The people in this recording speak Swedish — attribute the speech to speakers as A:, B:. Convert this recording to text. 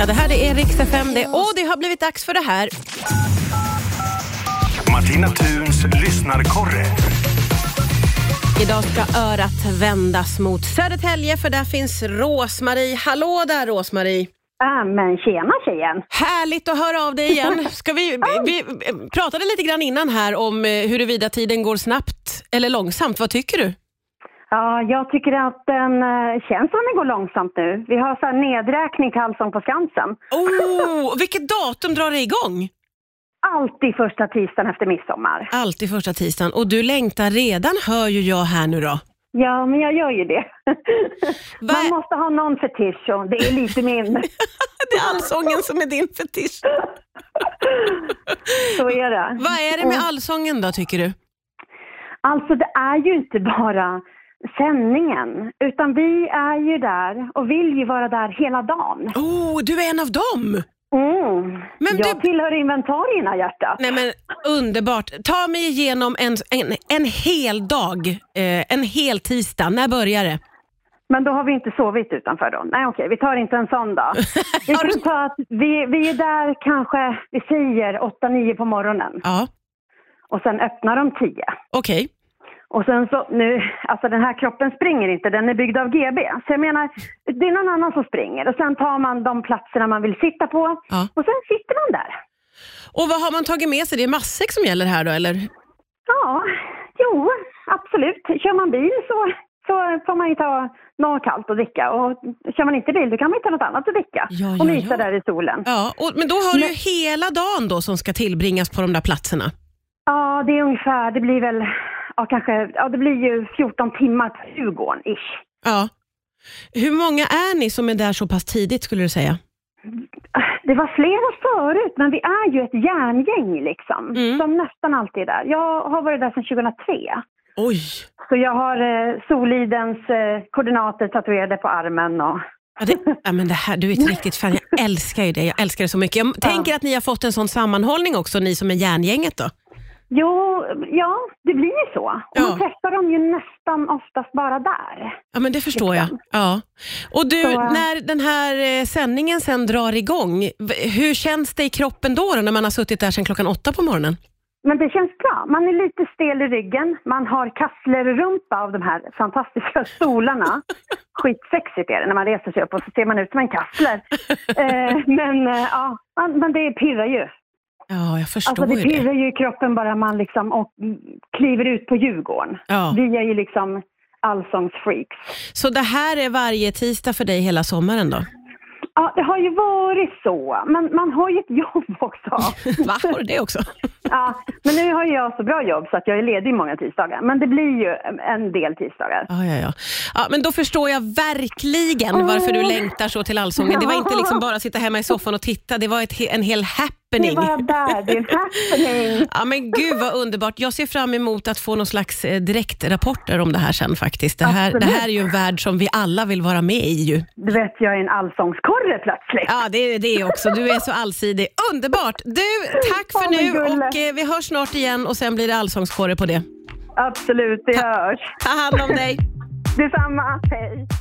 A: Ja, det här det är Rix FM det och det har blivit dags för det här.
B: Martina Thuns lyssnarkorre.
A: Idag ska örat vändas mot Södertälje för där finns Rosmarie. Hallå där Rosmarie!
C: Ja, Ah, men tjena tjejen!
A: Härligt att höra av dig igen. Ska vi, vi vi pratade lite grann innan här om eh, huruvida tiden går snabbt eller långsamt. Vad tycker du?
C: Ja, jag tycker att den eh, känns som den går långsamt nu. Vi har så här nedräkning till Allsång på Skansen.
A: Oh, vilket datum drar det igång?
C: Alltid första tisdagen efter midsommar.
A: Alltid första tisdagen och du längtar redan hör ju jag här nu då.
C: Ja, men jag gör ju det.
A: Va-
C: Man måste ha någon fetisch och det är lite min.
A: Det är allsången som är din fetisch.
C: Så är det.
A: Vad är det med allsången då tycker du?
C: Alltså det är ju inte bara sändningen, utan vi är ju där och vill ju vara där hela dagen.
A: Oh, du är en av dem!
C: Mm.
A: Men
C: jag
A: du-
C: tillhör inventarierna hjärtat.
A: Nej men underbart. Ta mig igenom en, en, en hel dag, eh, en hel tisdag. När börjar det?
C: Men då har vi inte sovit utanför då? Nej okej, vi tar inte en sån dag. Vi
A: Har du-
C: kan ta att vi, vi är där kanske, vi säger 8-9 på morgonen
A: Ja,
C: och sen öppnar de 10.
A: okej.
C: Och sen så nu, alltså den här kroppen springer inte, den är byggd av GB. Så jag menar, det är någon annan som springer och sen tar man de platserna man vill sitta på
A: Ja.
C: och sen sitter man där.
A: Och vad har man tagit med sig? Det är matsäck som gäller här då eller?
C: Ja, jo, absolut. Kör man bil så, så får man ju ta något kallt att dricka och kör man inte bil då kan man ju ta något annat att dricka
A: Ja, ja,
C: och mysa
A: ja.
C: där i solen.
A: Ja, och, men då har du ju hela dagen då som ska tillbringas på de där platserna.
C: Ja, det är ungefär, det blir väl, ja kanske, ja det blir ju 14 timmar på Djurgården, ish.
A: Ja. Hur många är ni som är där så pass tidigt skulle du säga?
C: Det var flera förut, men vi är ju ett järngäng liksom,
A: Mm.
C: som nästan alltid är där. Jag har varit där sedan 2003.
A: Oj!
C: Så jag har eh, Solidens eh, koordinater tatuerade på armen och
A: Ja, det, ja, men det här, du är ett riktigt fan. Jag älskar ju det. Jag älskar det så mycket. Jag tänker att ni har fått en sån sammanhållning också, ni som är järngänget då.
C: Jo, ja, det blir ju så. Och
A: Ja.
C: man träffar dem ju nästan oftast bara där.
A: Ja, men det förstår jag. Ja. Och du,
C: Så, eh,
A: när den här eh, sändningen sen drar igång, v- hur känns det i kroppen då, då när man har suttit där sedan klockan åtta på morgonen?
C: Men det känns bra. Man är lite stel i ryggen. Man har kasslerrumpa av de här fantastiska stolarna. Skitsexigt är det när man reser sig upp och så ser man ut som en kassler. Eh, men eh, ja, man, men det pirrar ju.
A: Ja, jag förstår
C: Alltså det
A: ju det.
C: pirrar ju i kroppen bara man liksom och mm, kliver ut på Djurgården.
A: Ja.
C: Vi är ju liksom allsångsfreaks.
A: Så det här är varje tisdag för dig hela sommaren då?
C: Ja, det har ju varit så. Men man har ju ett jobb också.
A: Va, har du det också?
C: Ja, men nu har ju jag så bra jobb så att jag är ledig många tisdagar. Men det blir ju en del tisdagar.
A: Ja, ja, ja. ja, men då förstår jag verkligen varför du längtar så till Allsången. Det var inte liksom bara att sitta hemma i soffan och titta, det var ett, he- en hel
C: Det är
A: happening.
C: bara där, det är en happening.
A: Ja, men gud vad underbart. Jag ser fram emot att få någon slags eh, direktrapporter om det här sen faktiskt. Det här, det
C: Absolut.
A: här är ju en värld som vi alla vill vara med i ju.
C: Du vet, jag är en allsångskorre plötsligt.
A: Ja, det är det också. Du är så allsidig. Underbart! Du, tack för
C: Åh, men
A: nu
C: gulle.
A: och eh, vi hörs snart igen och sen blir det allsångskåre på det.
C: Absolut, det hörs.
A: Ta hand om dig.
C: Detsamma, hej.